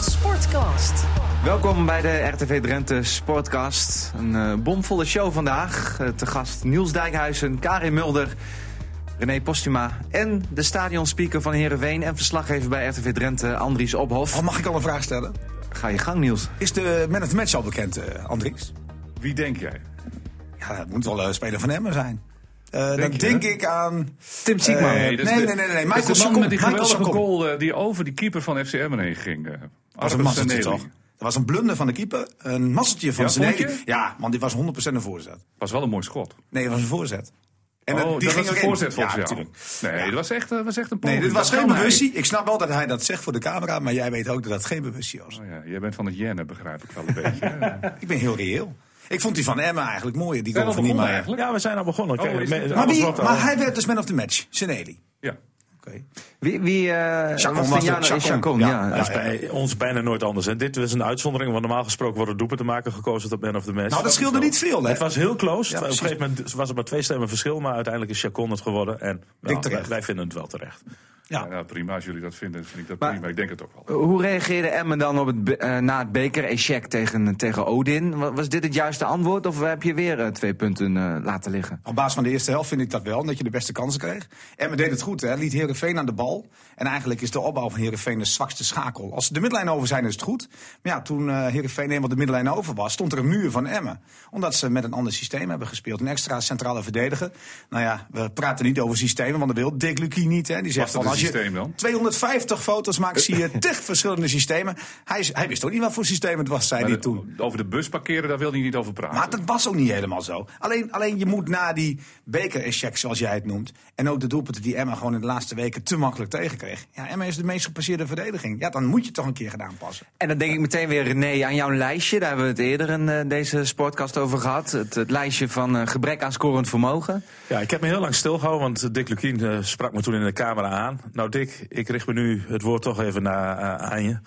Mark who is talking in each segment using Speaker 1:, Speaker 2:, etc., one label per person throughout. Speaker 1: Sportcast.
Speaker 2: Welkom bij de RTV Drenthe Sportcast. Een eh, bomvolle show vandaag. Eh, te gast Niels Dijkhuizen, Karin Mulder, René Postuma... en de stadionspeaker van Heerenveen en verslaggever bij RTV Drenthe, Andries Ophof.
Speaker 3: Oh, mag ik al een vraag stellen?
Speaker 2: Ga je gang, Niels.
Speaker 3: Is de man of the match al bekend, eh, Andries?
Speaker 4: Wie denk jij?
Speaker 3: Ja, dat moet wel een speler van Emmen zijn. Eh, dan
Speaker 4: je,
Speaker 3: denk
Speaker 4: hè?
Speaker 3: ik aan...
Speaker 2: Tim Siekman.
Speaker 3: eh,
Speaker 4: Nee,
Speaker 3: nee,
Speaker 4: dat is
Speaker 3: nee,
Speaker 4: de-
Speaker 3: nee, nee, nee.
Speaker 4: Dat is
Speaker 3: Michael
Speaker 4: de man
Speaker 3: Sokol.
Speaker 4: met die
Speaker 3: Michael
Speaker 4: geweldige
Speaker 3: Sokol.
Speaker 4: goal eh, die over die keeper van FC Emmen heen ging. eh.
Speaker 3: Dat was een
Speaker 4: Arvid
Speaker 3: masseltje,
Speaker 4: Seneli.
Speaker 3: toch? Dat was een blunder van de keeper. Een masseltje van
Speaker 4: Ja,
Speaker 3: Seneli.
Speaker 4: vond je?
Speaker 3: Ja, want dit was 100% een voorzet.
Speaker 4: Was wel een mooi schot.
Speaker 3: Nee, dat was een voorzet. En dat- die
Speaker 4: oh, dat
Speaker 3: ging
Speaker 4: was een
Speaker 3: erin.
Speaker 4: voorzet volgens
Speaker 3: ja,
Speaker 4: jou.
Speaker 3: natuurlijk.
Speaker 4: Nee,
Speaker 3: Ja.
Speaker 4: dat was echt, eh, was echt een
Speaker 3: Nee,
Speaker 4: poging.
Speaker 3: dit was
Speaker 4: Dat
Speaker 3: geen
Speaker 4: kan
Speaker 3: bewustie. Ik snap wel dat hij dat zegt voor de camera, maar jij weet ook dat dat geen bewustie was.
Speaker 4: hij. Oh ja, jij bent van het jennen, begrijp ik wel een beetje. hè.
Speaker 3: Ik ben heel reëel. Ik vond die van Emma eigenlijk mooier. Die
Speaker 4: Zijn
Speaker 3: goal
Speaker 4: we
Speaker 3: van Niemeyer.
Speaker 4: begonnen eigenlijk?
Speaker 5: Ja, we zijn al begonnen.
Speaker 4: Oh,
Speaker 5: Kijk,
Speaker 4: is
Speaker 5: me-
Speaker 4: het?
Speaker 3: Maar,
Speaker 5: alles
Speaker 3: wie,
Speaker 5: wat al-
Speaker 3: maar
Speaker 4: eh,
Speaker 3: hij werd dus man of the match, Seneli.
Speaker 4: Ja.
Speaker 3: Oké.
Speaker 2: Wie, wie eh,
Speaker 3: Chacon
Speaker 2: was
Speaker 3: was
Speaker 2: de
Speaker 3: het,
Speaker 2: Jano?
Speaker 3: Chacon.
Speaker 2: Chacon,
Speaker 3: Nou Ja,
Speaker 2: ja.
Speaker 5: dat is bij ons bijna nooit anders. En dit was een uitzondering, want normaal gesproken worden doepen te maken gekozen tot man of the match.
Speaker 3: Nou, dat scheelde niet veel, hè?
Speaker 5: Het was heel close.
Speaker 3: Ja,
Speaker 5: Op een
Speaker 3: precies.
Speaker 5: gegeven moment was het maar twee stemmen verschil, maar uiteindelijk is Chacon het geworden. En nou,
Speaker 3: Dik terecht.
Speaker 5: wij, wij vinden het wel terecht.
Speaker 3: Ja.
Speaker 4: Ja, nou, prima, als jullie dat vinden, vind ik dat
Speaker 2: Maar-
Speaker 4: prima. Ik denk het ook wel.
Speaker 2: Eh, Hoe reageerde Emmen dan op het, be- eh, na het beker-echec tegen, tegen Odin? Wa- Was dit het juiste antwoord of heb je weer eh, twee punten eh, laten liggen?
Speaker 3: Op basis van de eerste helft vind ik dat wel, omdat je de beste kansen kreeg. En we deden het goed, hè? liet Herenveen aan de bal. En eigenlijk is de opbouw van Herenveen de zwakste schakel. Als ze de midlijn over zijn, is het goed. Maar ja, toen eh Herenveen eenmaal de midlijn over was, stond er een muur van Emmen. Omdat ze met een ander systeem hebben gespeeld. Een extra centrale verdediger. Nou ja, we praten niet over systemen, want dat wil Dick Lucie niet. Hè? Die zegt
Speaker 4: Wat is
Speaker 3: van,
Speaker 4: het
Speaker 3: als je
Speaker 4: systeem dan?
Speaker 3: 250 foto's maakt, zie je tig verschillende systemen. Hij, is- hij wist ook niet wat voor systeem het was, zei
Speaker 4: Maar
Speaker 3: hij
Speaker 4: de-
Speaker 3: toen.
Speaker 4: Over de bus parkeren, daar wil hij niet over praten.
Speaker 3: Maar dat was ook niet helemaal zo. Alleen, alleen je moet na die beker-check, zoals jij het noemt. En ook de doelpunten die Emma gewoon in de laatste weken te makkelijk tegenkreeg. Ja, Emma is de meest gepasseerde verdediging. Ja, dan moet je het toch een keer gedaan passen.
Speaker 2: En dan denk ik meteen weer, René, aan jouw lijstje. Daar hebben we het eerder in eh, deze sportcast over gehad. Het, het lijstje van eh, gebrek aan scorend vermogen.
Speaker 5: Ja, ik heb me heel lang stilgehouden, want eh, Dick Lukien eh, sprak me toen in de camera aan. Nou Dick, ik richt me nu het woord toch even naar, eh, aan je.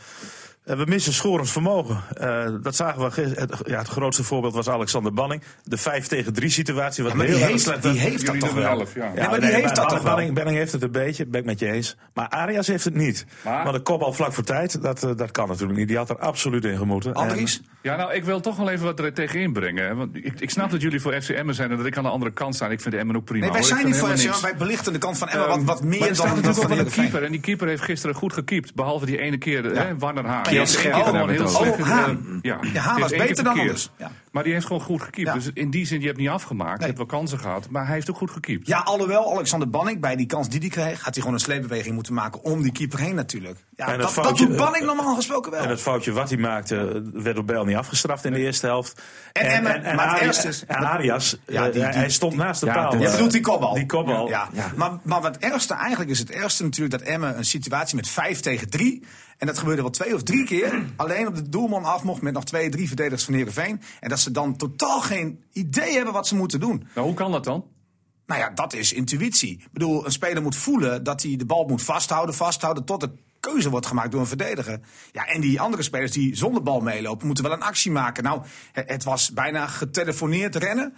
Speaker 5: Eh, we missen schorend vermogen. Eh, dat zagen we gisteren. Het, ja, het grootste voorbeeld was Alexander Banning. De 5 tegen 3 situatie. Wat
Speaker 3: Ja, maar die
Speaker 5: heel erg
Speaker 3: heeft,
Speaker 5: slecht
Speaker 3: die
Speaker 5: was.
Speaker 3: heeft dat
Speaker 4: Jullie
Speaker 3: toch
Speaker 4: doen
Speaker 3: wel.
Speaker 4: elf, ja.
Speaker 3: Nee,
Speaker 4: Ja,
Speaker 3: maar die
Speaker 5: nee,
Speaker 3: heeft
Speaker 5: maar
Speaker 3: dat toch wel.
Speaker 5: Benning, Benning heeft het een beetje, ben ik met je eens. Maar Arias heeft het niet.
Speaker 4: Maar-
Speaker 5: Maar, de kop al vlak voor tijd, dat, eh, dat kan natuurlijk niet. Die had er absoluut in gemoeten.
Speaker 3: Andries?
Speaker 5: En-
Speaker 4: Ja, nou, ik wil toch wel even wat er tegen inbrengen. hè. Want ik, ik snap dat jullie voor FC Emmen zijn en dat ik aan de andere kant sta. En ik vind Emmen ook prima.
Speaker 3: Nee, wij
Speaker 4: hoor. Ik
Speaker 3: zijn
Speaker 4: vind
Speaker 3: niet voor
Speaker 4: helemaal
Speaker 3: FC, maar
Speaker 4: niks.
Speaker 3: wij belichten de kant van Emma wat, wat
Speaker 4: Maar
Speaker 3: meer
Speaker 4: er staat
Speaker 3: dan dat
Speaker 4: natuurlijk ook
Speaker 3: van
Speaker 4: wel een
Speaker 3: Heerenveen.
Speaker 4: keeper. En die keeper heeft gisteren goed gekiept. Behalve die ene keer, hè, Warnerhaan.
Speaker 3: ja,
Speaker 4: Die heeft één
Speaker 3: Scherp.
Speaker 4: keer
Speaker 3: Oh,
Speaker 4: gewoon heel
Speaker 3: oh,
Speaker 4: slecht
Speaker 3: Haan.
Speaker 4: gedaan. Ja, die
Speaker 3: Haan
Speaker 4: heeft
Speaker 3: was
Speaker 4: één keer
Speaker 3: beter dan
Speaker 4: verkeerd.
Speaker 3: anders. Ja.
Speaker 4: Maar die heeft gewoon goed gekiept.
Speaker 3: Ja.
Speaker 4: Dus in die zin, je hebt niet afgemaakt. Je
Speaker 3: Nee.
Speaker 4: hebt wel kansen gehad. Maar hij heeft ook goed gekiept.
Speaker 3: Ja, alhoewel Alexander Banning bij die kans die hij kreeg, had hij gewoon een sleepbeweging moeten maken om die keeper heen natuurlijk. Ja,
Speaker 5: En
Speaker 3: dat,
Speaker 5: dat
Speaker 3: dat,
Speaker 5: foutje-
Speaker 3: doet Banning normaal gesproken wel.
Speaker 5: En het foutje wat hij maakte, eh, werd door Bijl niet afgestraft in de eerste helft.
Speaker 3: En- en- maar het ergste is-
Speaker 5: en Arias,
Speaker 3: dus. Ja,
Speaker 5: eh,
Speaker 3: die- die-
Speaker 5: hij stond naast de
Speaker 2: ja,
Speaker 5: paal.
Speaker 2: dat-
Speaker 3: Je
Speaker 5: eh,
Speaker 3: bedoelt die kopbal.
Speaker 5: Die kopbal.
Speaker 3: Ja. ja. Maar, maar wat ergste eigenlijk is het ergste natuurlijk dat Emmen een situatie met 5 tegen 3. En dat gebeurde wel twee of drie keer. Alleen op de doelman af mocht met nog twee, drie verdedigers van Heerenveen. En dat ze dan totaal geen idee hebben wat ze moeten doen.
Speaker 4: Nou, hoe kan dat dan?
Speaker 3: Nou ja, dat is intuïtie. Ik bedoel, een speler moet voelen dat hij de bal moet vasthouden, vasthouden tot er keuze wordt gemaakt door een verdediger. Ja, en die andere spelers die zonder bal meelopen, moeten wel een actie maken. Nou, he- het was bijna getelefoneerd rennen.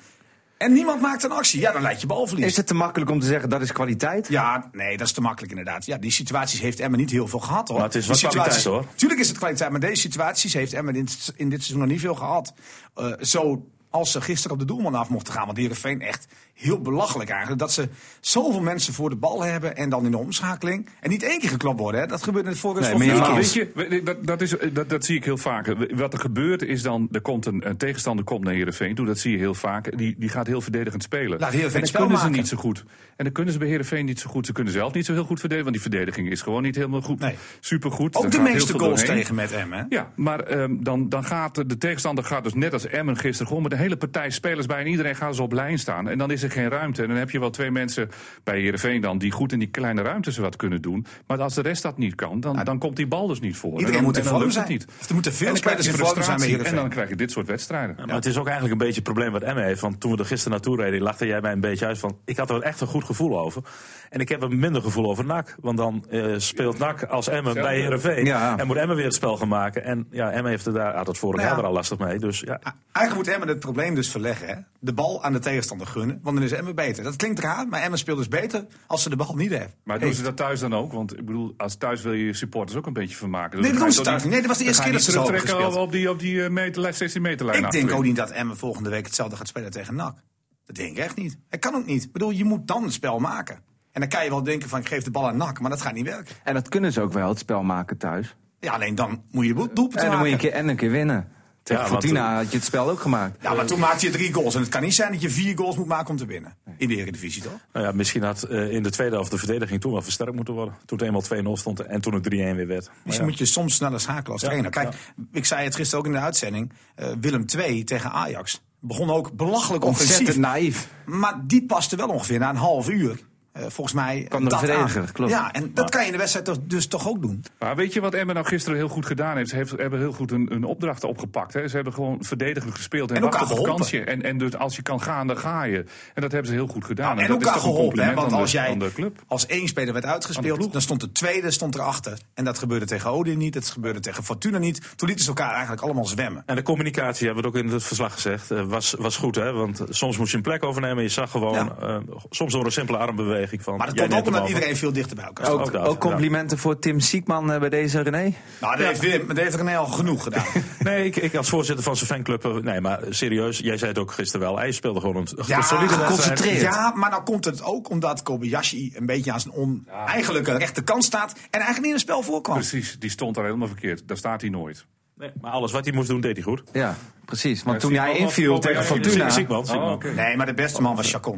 Speaker 3: En niemand maakt een actie. Ja, dan leidt je balverlies.
Speaker 2: Is het te makkelijk om te zeggen dat is kwaliteit?
Speaker 3: Ja, nee, dat is te makkelijk inderdaad. Ja, die situaties heeft Emma niet heel veel gehad hoor.
Speaker 5: Maar het is
Speaker 3: Die
Speaker 5: wel
Speaker 3: situaties-
Speaker 5: kwaliteit, hoor.
Speaker 3: Tuurlijk is het kwaliteit, maar deze situaties heeft Emma in, dit- in dit seizoen nog niet veel gehad. Eh, zo als ze gisteren op de doelman af mochten gaan. Want Heerenveen echt heel belachelijk eigenlijk. Dat ze zoveel mensen voor de bal hebben en dan in de omschakeling. En niet één keer geklopt worden, hè. Dat gebeurde voor de
Speaker 2: Nee,
Speaker 3: voor
Speaker 2: maar
Speaker 3: vier
Speaker 2: ja,
Speaker 4: Nou,
Speaker 3: keer.
Speaker 4: weet je, we- dat, dat, is, dat, dat zie ik heel vaak. Wat er gebeurt is dan, er komt een, een tegenstander komt naar Heerenveen toe. Dat zie je heel vaak. Die, die gaat heel verdedigend spelen.
Speaker 3: Laat Heerenveen
Speaker 4: en
Speaker 3: het
Speaker 4: dat
Speaker 3: spel
Speaker 4: kunnen ze
Speaker 3: maken.
Speaker 4: niet zo goed. En dan kunnen ze bij Heerenveen niet zo goed. Ze kunnen zelf niet zo heel goed verdedigen. Want die verdediging is gewoon niet helemaal goed.
Speaker 3: Nee.
Speaker 4: Supergoed. Daar
Speaker 3: Ook de
Speaker 4: gaat heel
Speaker 3: meeste
Speaker 4: veel
Speaker 3: goals
Speaker 4: doorheen.
Speaker 3: tegen met Emma. hè.
Speaker 4: Ja, maar ehm, dan, dan gaat de- de tegenstander gaat dus net als Emmen gisteren gewoon met de hele partij spelers bij en iedereen gaat ze op lijn staan. En dan is er geen ruimte. En dan heb je wel twee mensen bij Heerenveen dan die goed in die kleine ruimtes wat kunnen doen. Maar als de rest dat niet kan, dan, dan komt die bal dus niet voor. en
Speaker 3: Iedereen
Speaker 4: dan,
Speaker 3: moet in
Speaker 4: en dan
Speaker 3: vorm
Speaker 4: lukt
Speaker 3: zijn.
Speaker 4: het niet.
Speaker 3: Of er moeten veel
Speaker 4: En dan krijg
Speaker 3: spelers
Speaker 4: je
Speaker 3: in vorm zijn bij
Speaker 4: frustratie en dan
Speaker 3: Heerenveen.
Speaker 4: krijg je dit soort wedstrijden.
Speaker 5: Maar Nou, het is ook eigenlijk een beetje het probleem wat Emma heeft. Want toen we er gisteren naartoe reden, lachte jij mij een beetje uit van... ik had er echt een goed gevoel over. En ik heb een minder gevoel over NAC. Want dan eh, speelt NAC als Emma bij Heerenveen.
Speaker 2: Ja.
Speaker 5: En moet Emma weer het spel gaan maken. En ja, Emma heeft er daar, had het vorig
Speaker 3: Nou ja. Ah.
Speaker 5: jaar er al lastig mee. Dus ja,
Speaker 3: Eigenlijk moet Emmen het probleem dus verleggen. Hè? De bal aan de tegenstander gunnen, want dan is Emmen beter. Dat klinkt raar, maar Emmen speelt dus beter als ze de bal niet hebben.
Speaker 4: Maar doen ze dat thuis dan ook? Want ik bedoel, als thuis wil je je supporters ook een beetje vermaken.
Speaker 3: Nee, dat doen
Speaker 4: Dan ga
Speaker 3: ze
Speaker 4: je
Speaker 3: thuis
Speaker 4: toch
Speaker 3: niet. Nee, dat was de
Speaker 4: dan
Speaker 3: eerste
Speaker 4: ga
Speaker 3: keer dat ze
Speaker 4: je niet
Speaker 3: zo hebben
Speaker 4: terugtrekken
Speaker 3: gespeeld.
Speaker 4: op die, op die eh, meter, 16 meterlijn.
Speaker 3: Ik denk
Speaker 4: achterin.
Speaker 3: ook niet dat Emmen volgende week hetzelfde gaat spelen tegen NAC. Dat denk ik echt niet. Het kan ook niet. Ik bedoel, je moet dan het spel maken. En dan kan je wel denken van ik geef de bal aan NAC, maar dat gaat niet werken.
Speaker 2: En dat kunnen ze ook wel, het spel maken thuis.
Speaker 3: Ja, alleen dan moet je doelpunten maken.
Speaker 2: En dan moet je een keer, en een keer winnen. Tegen
Speaker 5: want,
Speaker 2: Fortuna had je het spel ook gemaakt.
Speaker 3: Ja, maar toen maakte je drie goals. En het kan niet zijn dat je vier goals moet maken om te winnen. In de Eredivisie toch?
Speaker 5: Nou ja, misschien had eh, in de tweede helft de verdediging toen wel versterkt moeten worden. Toen het eenmaal 2-0 stond en toen het 3-1 weer werd. Maar
Speaker 3: Dus
Speaker 5: ja.
Speaker 3: dan moet je soms sneller schakelen als trainer. Kijk, ik zei het gisteren ook in de uitzending. eh, Willem II tegen Ajax begon ook belachelijk
Speaker 2: Ontzettend
Speaker 3: offensief.
Speaker 2: naïef.
Speaker 3: Maar die paste wel ongeveer na een half uur. eh, volgens mij
Speaker 2: Kan de
Speaker 3: dat
Speaker 2: verdediger,
Speaker 3: aan.
Speaker 2: klopt.
Speaker 3: Ja, en dat kan je in de wedstrijd toch- dus toch ook doen.
Speaker 4: Maar weet je wat Emmen nou gisteren heel goed gedaan heeft? Ze heeft, hebben heel goed een, een opdracht opgepakt. Hè? Ze hebben gewoon verdedigend gespeeld en,
Speaker 3: En
Speaker 4: wacht
Speaker 3: elkaar
Speaker 4: op een
Speaker 3: geholpen.
Speaker 4: kansje. En, en dus als je kan gaan, dan ga je. En dat hebben ze heel goed gedaan.
Speaker 3: Nou, en
Speaker 4: dat is
Speaker 3: elkaar
Speaker 4: toch een
Speaker 3: geholpen. Hè,
Speaker 4: compliment
Speaker 3: want
Speaker 4: aan de-
Speaker 3: als jij
Speaker 4: aan de club.
Speaker 3: als één speler werd
Speaker 4: Aan de
Speaker 3: uitgespeeld,
Speaker 4: ploeg.
Speaker 3: dan stond de tweede stond erachter. En dat gebeurde tegen Odin niet, dat gebeurde tegen Fortuna niet. Toen lieten ze elkaar eigenlijk allemaal zwemmen.
Speaker 5: En de communicatie, hebben we het ook in het verslag gezegd, eh, was, was goed. Hè? Want soms moest je een plek overnemen en je zag gewoon,
Speaker 3: Ja.
Speaker 5: eh, soms door een simpele armbeweging van...
Speaker 3: Maar dat
Speaker 5: jij
Speaker 3: komt ook
Speaker 5: neemt hem
Speaker 3: omdat
Speaker 5: over.
Speaker 3: iedereen veel dichter bij elkaar staat.
Speaker 2: Ook,
Speaker 5: ook dat,
Speaker 2: ook complimenten voor Tim Siekman eh, bij deze René.
Speaker 3: Nou, dat heeft, Willem, dat heeft René al genoeg gedaan.
Speaker 5: Nee, ik, ik als voorzitter van zijn fanclub, eh, nee, maar serieus, jij zei het ook gisteren wel. Hij speelde gewoon een, een solide wedstrijd.
Speaker 2: geconcentreerd.
Speaker 3: Ja, maar dan komt het ook omdat Kobayashi een beetje aan zijn on, eigenlijk een rechterkant staat. En eigenlijk niet in het spel voorkwam.
Speaker 4: Precies, die stond daar helemaal verkeerd. Daar staat hij nooit.
Speaker 5: Nee, maar alles wat hij moest doen, deed hij goed.
Speaker 2: Ja, precies. Want
Speaker 4: Ja,
Speaker 2: toen
Speaker 4: Siekman
Speaker 2: hij
Speaker 4: was-
Speaker 2: inviel
Speaker 4: was-
Speaker 2: tegen
Speaker 4: was-
Speaker 2: Fortuna...
Speaker 5: Ziek, ziek
Speaker 3: Oh,
Speaker 5: man, ziek man.
Speaker 3: Nee, maar de beste man was Chacon.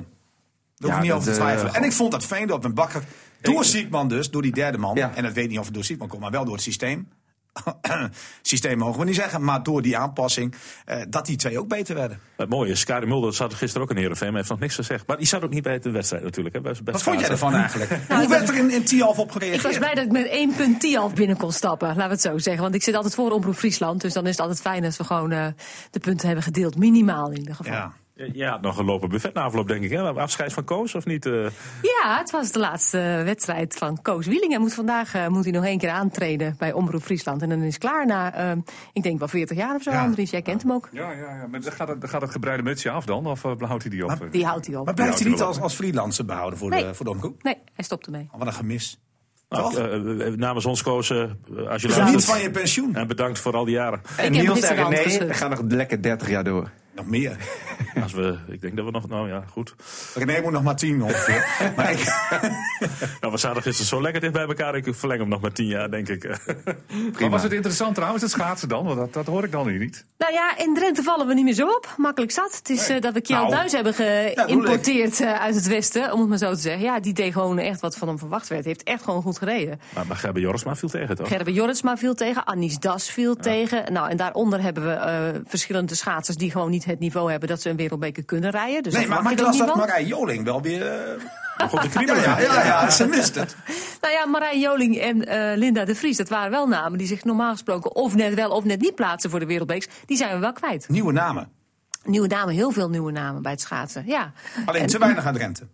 Speaker 3: Daar hoef
Speaker 2: Ja,
Speaker 3: je niet
Speaker 2: dat,
Speaker 3: over te
Speaker 2: eh,
Speaker 3: twijfelen. en ik vond dat Veendorp en Bakker door Siekman dus, door die derde man.
Speaker 2: Ja.
Speaker 3: En dat weet niet of het door Siekman komt, maar wel door het systeem. systeem mogen we niet zeggen, maar door die aanpassing. eh, dat die twee ook beter werden.
Speaker 5: Het mooie is, Kari Mulder zat gisteren ook in Heerenveen, maar heeft nog niks gezegd. Maar die zat ook niet bij de wedstrijd natuurlijk. Hè? Bij zijn
Speaker 3: Wat
Speaker 5: beste
Speaker 3: vond jij
Speaker 5: fase.
Speaker 3: ervan eigenlijk? Hoe werd er in, in Tialf op
Speaker 1: Ik was
Speaker 3: gereageerd?
Speaker 1: blij dat ik met één punt die al binnen kon stappen. Laten we het zo zeggen. Want ik zit altijd voor Omroep Friesland. Dus dan is het altijd fijn dat we gewoon eh, de punten hebben gedeeld. Minimaal in ieder geval.
Speaker 3: Ja.
Speaker 5: Eh, Ja, nog een lopen buffet na afloop, denk ik. Hè? Afscheid van Koos of niet? eh?
Speaker 1: Ja, het was de laatste eh, wedstrijd van Koos Wieling. Hij moet vandaag eh, moet hij nog één keer aantreden bij Omroep Friesland. En dan is het klaar na, eh, ik denk wel 40 jaar of zo,
Speaker 3: Ja.
Speaker 1: Andries. Jij kent hem ook.
Speaker 4: Ja, ja, ja. Maar dan gaat, het, dan gaat het gebreide mutsje af dan? Of eh, houdt hij die op?
Speaker 1: Die houdt hij
Speaker 3: Maar
Speaker 1: op.
Speaker 3: blijft
Speaker 4: Ja,
Speaker 3: hij niet
Speaker 4: tuurlijk.
Speaker 3: als, als freelancer behouden voor de,
Speaker 1: Nee.
Speaker 3: voor de omroep?
Speaker 1: Nee, hij stopt ermee.
Speaker 3: Oh, Wat een gemis.
Speaker 5: Nou,
Speaker 3: Toch?
Speaker 5: eh, eh, namens ons Koos, eh, als je
Speaker 3: Geniet
Speaker 5: luistert.
Speaker 3: van je pensioen.
Speaker 5: En bedankt voor al die jaren.
Speaker 2: En
Speaker 1: Ik heb
Speaker 2: Niels
Speaker 1: niks
Speaker 2: en
Speaker 1: aan de hand
Speaker 2: René
Speaker 1: gezet.
Speaker 2: gaan nog lekker 30 jaar door.
Speaker 3: Nog meer.
Speaker 5: Als we, ik denk dat we nog, nou ja, goed.
Speaker 3: René moet nog maar tien ongeveer. maar ik,
Speaker 5: Nou, we zaten gisteren zo lekker dicht bij elkaar. Ik verleng hem nog maar tien jaar, denk ik.
Speaker 4: Maar was het interessant trouwens, dat schaatsen dan? Want dat, dat hoor ik dan hier niet.
Speaker 1: Nou ja, in Drenthe vallen we niet meer zo op. Makkelijk zat. Het is eh, dat we Kjell
Speaker 3: Nou,
Speaker 1: Duis hebben
Speaker 3: dat bedoel
Speaker 1: geïmporteerd eh, uit het Westen. Om het maar zo te zeggen. Ja, die deed gewoon echt wat van hem verwacht werd. Heeft echt gewoon goed gereden.
Speaker 5: maar, maar Gerben Jorisma viel tegen, toch?
Speaker 1: Gerben Jorritsma viel tegen, Annies Das viel tegen. Nou, en daaronder hebben we eh, verschillende schaatsers die gewoon niet het niveau hebben dat ze een wereldbeker kunnen rijden. Dus
Speaker 3: nee,
Speaker 1: dat
Speaker 3: maar, maar
Speaker 1: mag
Speaker 3: ik
Speaker 1: ik ook
Speaker 3: las
Speaker 1: niet
Speaker 3: dat
Speaker 1: van.
Speaker 3: Marij Joling wel weer... eh,
Speaker 5: Nog op de
Speaker 3: ja,
Speaker 5: kriebelen.
Speaker 3: ja, ja, ja, ze mist het.
Speaker 1: Nou ja, Marij Joling en eh, Linda de Vries, dat waren wel namen die zich normaal gesproken of net wel of net niet plaatsen voor de wereldbekers. Die zijn we wel kwijt.
Speaker 3: Nieuwe namen.
Speaker 1: Nieuwe namen, heel veel nieuwe namen bij het schaatsen. Ja.
Speaker 3: Alleen
Speaker 1: En
Speaker 3: te weinig aan Drenthe.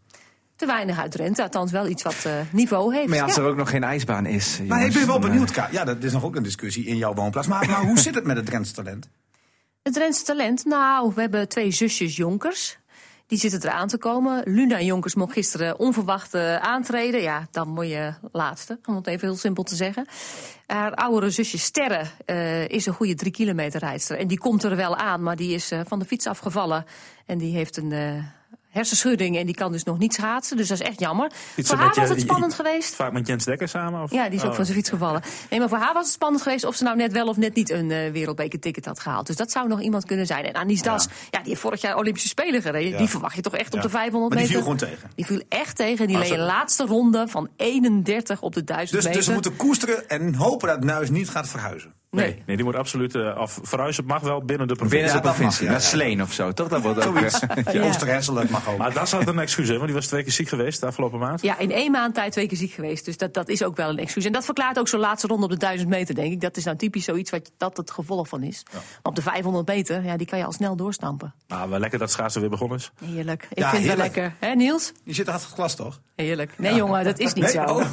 Speaker 1: te weinig uit Drenthe, althans wel iets wat eh, niveau heeft.
Speaker 2: Maar ja, als
Speaker 1: Ja.
Speaker 2: er ook nog geen ijsbaan is.
Speaker 3: Maar
Speaker 2: jongens,
Speaker 3: ik ben wel
Speaker 2: dan, eh,
Speaker 3: benieuwd, Ka. Ja, dat is nog ook een discussie in jouw woonplaats. Maar, maar hoe zit het met het Drentse talent?
Speaker 1: Het Drentse talent, nou, we hebben twee zusjes Jonkers. Die zitten eraan te komen. Luna Jonkers mocht gisteren onverwacht eh, aantreden. Ja, dan moet je laatste, om het even heel simpel te zeggen. Haar oudere zusje Sterre eh, is een goede drie kilometer rijdster. En die komt er wel aan, maar die is eh, van de fiets afgevallen. En die heeft een eh, hersenschudding en die kan dus nog niet schaatsen. Dus dat is echt jammer.
Speaker 5: Iets
Speaker 1: Voor
Speaker 5: met
Speaker 1: haar
Speaker 5: je-
Speaker 1: was het
Speaker 5: je-
Speaker 1: spannend geweest.
Speaker 5: Vaak met Jens Dekker samen? Of?
Speaker 1: Ja, die is ook
Speaker 5: Oh.
Speaker 1: van zijn fiets gevallen. Nee, maar voor haar was het spannend geweest of ze nou net wel of net niet een eh wereldbekerticket had gehaald. Dus dat zou nog iemand kunnen zijn. En Anis Das, ja. die heeft vorig jaar Olympische Spelen gereden. Die verwacht je toch echt op de 500
Speaker 3: Maar die
Speaker 1: meter.
Speaker 3: viel gewoon tegen. Ah,
Speaker 1: Die viel echt tegen. Die
Speaker 5: Maar
Speaker 1: leed
Speaker 5: ze-
Speaker 1: een laatste ronde van 31 op de 1000
Speaker 3: Dus,
Speaker 1: meter.
Speaker 3: dus we moeten koesteren en hopen dat Nuis niet gaat verhuizen.
Speaker 1: nee.
Speaker 5: Nee, nee, die moet absoluut eh, af. Verhuizen mag wel binnen de provincie.
Speaker 2: Binnen
Speaker 3: Ja,
Speaker 2: de
Speaker 3: dat mag,
Speaker 2: provincie,
Speaker 3: ja,
Speaker 2: naar
Speaker 3: ja.
Speaker 2: Sleen of zo, toch? Dat wordt ook eh, weer-
Speaker 3: Ja.
Speaker 1: Ja.
Speaker 3: Oosterhesselen, het mag ook.
Speaker 5: Maar daar zat een excuus in, want die was twee keer ziek geweest de afgelopen maand.
Speaker 1: Ja, in één maand tijd twee keer ziek geweest. Dus dat, dat is ook wel een excuus. En dat verklaart ook zo'n laatste ronde op de 1000 meter, denk ik. Dat is nou typisch zoiets wat dat het gevolg van is. Maar op de 500 meter, ja, die kan je al snel doorstampen.
Speaker 5: Maar Nou, wel lekker dat schaatsen weer begonnen is.
Speaker 1: Heerlijk. Ik
Speaker 3: Ja,
Speaker 1: vind het wel
Speaker 3: heerlijk.
Speaker 1: lekker. Hè, Niels?
Speaker 3: Je zit hard op het glas, toch?
Speaker 1: Heerlijk. Nee, jongen, dat is niet
Speaker 3: Nee?
Speaker 1: zo.
Speaker 3: Oh,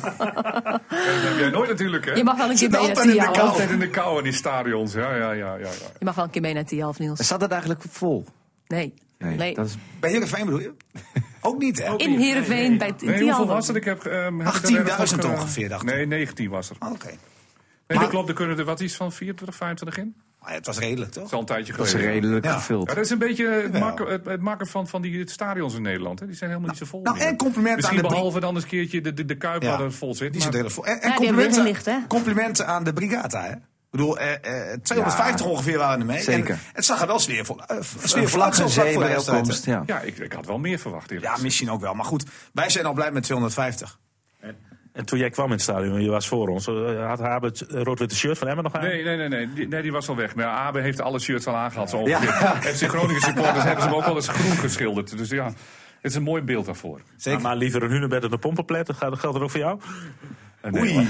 Speaker 4: Dat heb jij nooit natuurlijk, hè?
Speaker 1: Je mag wel een keer
Speaker 3: Zit
Speaker 1: mee naar
Speaker 3: altijd in de
Speaker 1: Tialf.
Speaker 3: kou.
Speaker 4: Altijd in de kou in die stadions. Ja, ja, ja. ja, ja.
Speaker 1: Je mag wel een keer mee naar Tialf, Niels.
Speaker 2: Zat het eigenlijk vol?
Speaker 1: Nee.
Speaker 2: Nee,
Speaker 1: Nee.
Speaker 2: dat is
Speaker 3: Bij Heerenveen bedoel je? Ook niet, hè?
Speaker 1: In Heerenveen bij
Speaker 4: Nee,
Speaker 1: die
Speaker 4: hoeveel
Speaker 1: andere.
Speaker 4: was het? Ik heb, ehm, heb
Speaker 3: 18.000
Speaker 4: ik er ergens nog, eh,
Speaker 3: ongeveer, dacht ik.
Speaker 4: Nee, 19 was er.
Speaker 3: Oh, Oké.
Speaker 4: Nee,
Speaker 3: Maar-
Speaker 4: dat klopt, er kunnen er wat iets van 24, 25 in. Dat
Speaker 3: Maar het was redelijk, toch?
Speaker 4: is al een tijdje
Speaker 2: dat is
Speaker 4: geleden.
Speaker 2: dus redelijk
Speaker 3: Ja.
Speaker 2: gevuld.
Speaker 4: Ja, dat is een beetje het
Speaker 3: Jawel.
Speaker 4: maken, het, het maken van, van die stadions in Nederland. Hè. Die zijn helemaal niet zo vol.
Speaker 3: nou,
Speaker 4: meer.
Speaker 3: en compliment
Speaker 4: Misschien
Speaker 3: aan de
Speaker 4: behalve dan eens een keertje de, de, de Kuip
Speaker 3: Ja,
Speaker 4: waar het vol zit.
Speaker 3: Die zit
Speaker 4: maar-
Speaker 3: er helemaal vol. En, en
Speaker 1: hebben
Speaker 3: complimenten,
Speaker 1: weggelicht, hè?
Speaker 3: complimenten aan de Brigata, hè? Ik bedoel, eh, eh, 250 ongeveer waren er mee.
Speaker 2: Zeker.
Speaker 3: En het zag er wel sfeervol, eh, v-
Speaker 2: Een
Speaker 3: sfeervol uit,
Speaker 2: vlakke
Speaker 3: zo vlak
Speaker 2: zee
Speaker 3: voor de
Speaker 2: bij
Speaker 3: wedstrijd, hè?
Speaker 2: opkomst. Ja.
Speaker 4: Ja, ik, ik had wel meer verwacht. eerlijk
Speaker 3: Ja,
Speaker 4: gezegd.
Speaker 3: misschien ook wel. Maar goed, wij zijn al blij met 250.
Speaker 5: En toen jij kwam in het stadion, je was voor ons, eh, had Haber het eh, rood-witte shirt van Emmen nog aan? Nou,
Speaker 4: Nee, nee, nee, nee. Die, nee, die was al weg. Maar Abe heeft alle shirts al aangehad. Zo ongeveer. FC Groningen supporters hebben ze hem ook wel eens groen geschilderd. Dus ja, het is een mooi beeld daarvoor.
Speaker 5: Maar, maar liever een hunebed dan een pompenplet, dat gaat- geldt dat ook voor jou? Eh,
Speaker 4: Oei.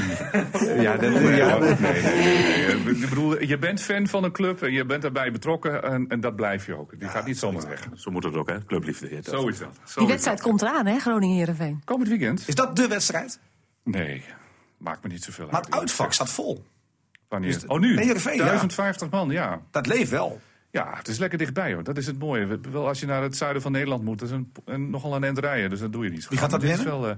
Speaker 2: Ja, dat,
Speaker 4: Ja,
Speaker 2: ja,
Speaker 4: nee, nee, nee. Ik bedoel, je bent fan van een club en je bent daarbij betrokken. En, en dat blijf je ook. Die gaat niet zomaar weg.
Speaker 5: Zo moet het ook, hè? Clubliefde. heet dat.
Speaker 4: Zo is dat. Zo
Speaker 1: Die
Speaker 4: is dat.
Speaker 1: wedstrijd komt eraan, hè, Groningen-Heerenveen.
Speaker 4: Komend weekend?
Speaker 3: Is dat de wedstrijd?
Speaker 4: Nee, maakt me niet zoveel uit.
Speaker 3: Maar het uitvak staat vol.
Speaker 4: Wanneer?
Speaker 3: de-
Speaker 4: oh, nu?
Speaker 3: Nee, Heerenveen, ja.
Speaker 4: 1050 man, ja.
Speaker 3: Dat leeft wel.
Speaker 4: Ja, het is lekker dichtbij hoor. Dat is het mooie. We- Wel, als je naar het zuiden van Nederland moet, dat is een, een, nogal een end rijden. Dus dat doe je niet. zo
Speaker 3: Wie
Speaker 4: gauw.
Speaker 3: gaat dat
Speaker 4: Maar dit is wel, eh,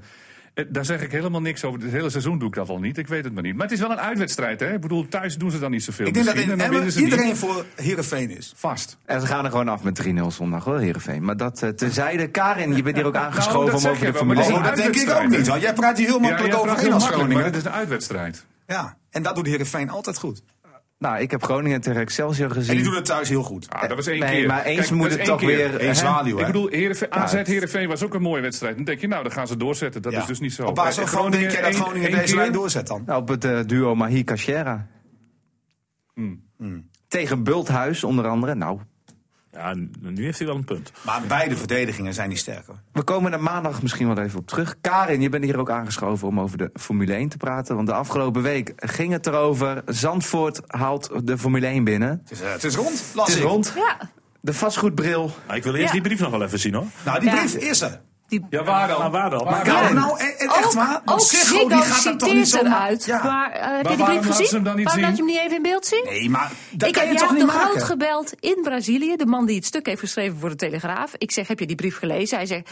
Speaker 4: eh, daar zeg ik helemaal niks over. Het hele seizoen doe ik dat al niet. Ik weet het maar niet. Maar het is wel een uitwedstrijd, hè? Ik bedoel, thuis doen ze dan niet zoveel.
Speaker 3: Ik denk dat
Speaker 4: misschien.
Speaker 3: in
Speaker 4: En dan
Speaker 3: Emmen
Speaker 4: winnen ze
Speaker 3: iedereen
Speaker 4: niet.
Speaker 3: voor Heerenveen is.
Speaker 4: vast.
Speaker 2: En ze gaan er gewoon af met 3-0 zondag hoor, Heerenveen. Maar dat eh, tezijde. Karin, je bent hier ook
Speaker 3: nou,
Speaker 2: aangeschoven
Speaker 4: dat
Speaker 2: om
Speaker 4: zeg
Speaker 2: over
Speaker 4: je
Speaker 2: de
Speaker 4: wel,
Speaker 2: Formule
Speaker 4: maar
Speaker 3: Oh,
Speaker 4: een
Speaker 2: 1.
Speaker 3: dat denk ik ook
Speaker 4: uitwedstrijd, hè?
Speaker 3: niet. hoor. Jij praat hier heel makkelijk
Speaker 4: jij praat
Speaker 3: overheen
Speaker 4: heel
Speaker 3: als
Speaker 4: makkelijk, maar
Speaker 3: Groningen.
Speaker 4: het is een uitwedstrijd.
Speaker 3: Ja, en dat doet Heerenveen altijd goed.
Speaker 2: Nou, ik heb Groningen tegen Excelsior
Speaker 3: En
Speaker 2: gezien.
Speaker 3: die doen het thuis heel goed.
Speaker 4: Ah, dat was één
Speaker 2: nee,
Speaker 4: keer.
Speaker 2: maar eens
Speaker 4: Kijk, dat
Speaker 2: moet
Speaker 4: is
Speaker 2: het
Speaker 4: één
Speaker 2: toch
Speaker 4: keer.
Speaker 2: weer...
Speaker 3: Eén
Speaker 2: hè?
Speaker 3: zwaluw,
Speaker 4: Ik
Speaker 3: hè?
Speaker 4: bedoel, Heerenveen, AZ
Speaker 2: het-
Speaker 4: Heerenveen was ook een mooie wedstrijd. Dan denk je, nou, dan gaan ze doorzetten. Dat
Speaker 3: Ja.
Speaker 4: is dus niet zo.
Speaker 3: Op basis
Speaker 4: Bij
Speaker 3: van denk jij dat
Speaker 4: één-
Speaker 3: Groningen
Speaker 4: één
Speaker 3: deze
Speaker 4: keer.
Speaker 3: lijn doorzet dan?
Speaker 2: Nou, op het eh, duo Mahi Cachera.
Speaker 3: Mm.
Speaker 2: Tegen Bulthuis onder andere. Nou,
Speaker 5: Ja, n- nu heeft hij wel een punt.
Speaker 3: Maar beide verdedigingen zijn niet sterker.
Speaker 2: we komen er maandag misschien wel even op terug. Karin, je bent hier ook aangeschoven om over de Formule 1 te praten. Want de afgelopen week ging het erover. Zandvoort haalt de Formule 1 binnen.
Speaker 3: Het is, eh, het is rond, las
Speaker 2: Het is
Speaker 3: ik.
Speaker 2: rond.
Speaker 1: Ja,
Speaker 2: De vastgoedbril.
Speaker 5: Maar ik wil eerst
Speaker 1: Ja.
Speaker 5: die brief nog wel even zien, hoor.
Speaker 3: Nou, die
Speaker 1: Ja.
Speaker 3: brief is er.
Speaker 1: die
Speaker 4: Ja, waar dan?
Speaker 5: Maar waar dan?
Speaker 4: Waar
Speaker 5: Maar
Speaker 3: Nou,
Speaker 2: Karen.
Speaker 3: nou, en, en echt waar?
Speaker 1: ook
Speaker 3: Want Ziggo, die
Speaker 1: Ziggo
Speaker 3: gaat er toch niet
Speaker 1: citeert
Speaker 3: zomaar-
Speaker 1: eruit.
Speaker 3: Ja.
Speaker 1: Maar eh, heb je
Speaker 4: waarom
Speaker 1: die brief
Speaker 4: laten
Speaker 1: gezien?
Speaker 4: ze hem dan niet
Speaker 1: waarom laat je
Speaker 4: zien?
Speaker 1: hem niet even in beeld zien?
Speaker 3: Nee, maar dat
Speaker 1: ik
Speaker 3: kan
Speaker 1: heb
Speaker 3: je toch
Speaker 1: Jaap
Speaker 3: niet
Speaker 1: de
Speaker 3: maken?
Speaker 1: Groot gebeld in Brazilië, de man die het stuk heeft geschreven voor de Telegraaf. Ik zeg, heb je die brief gelezen? Hij zegt,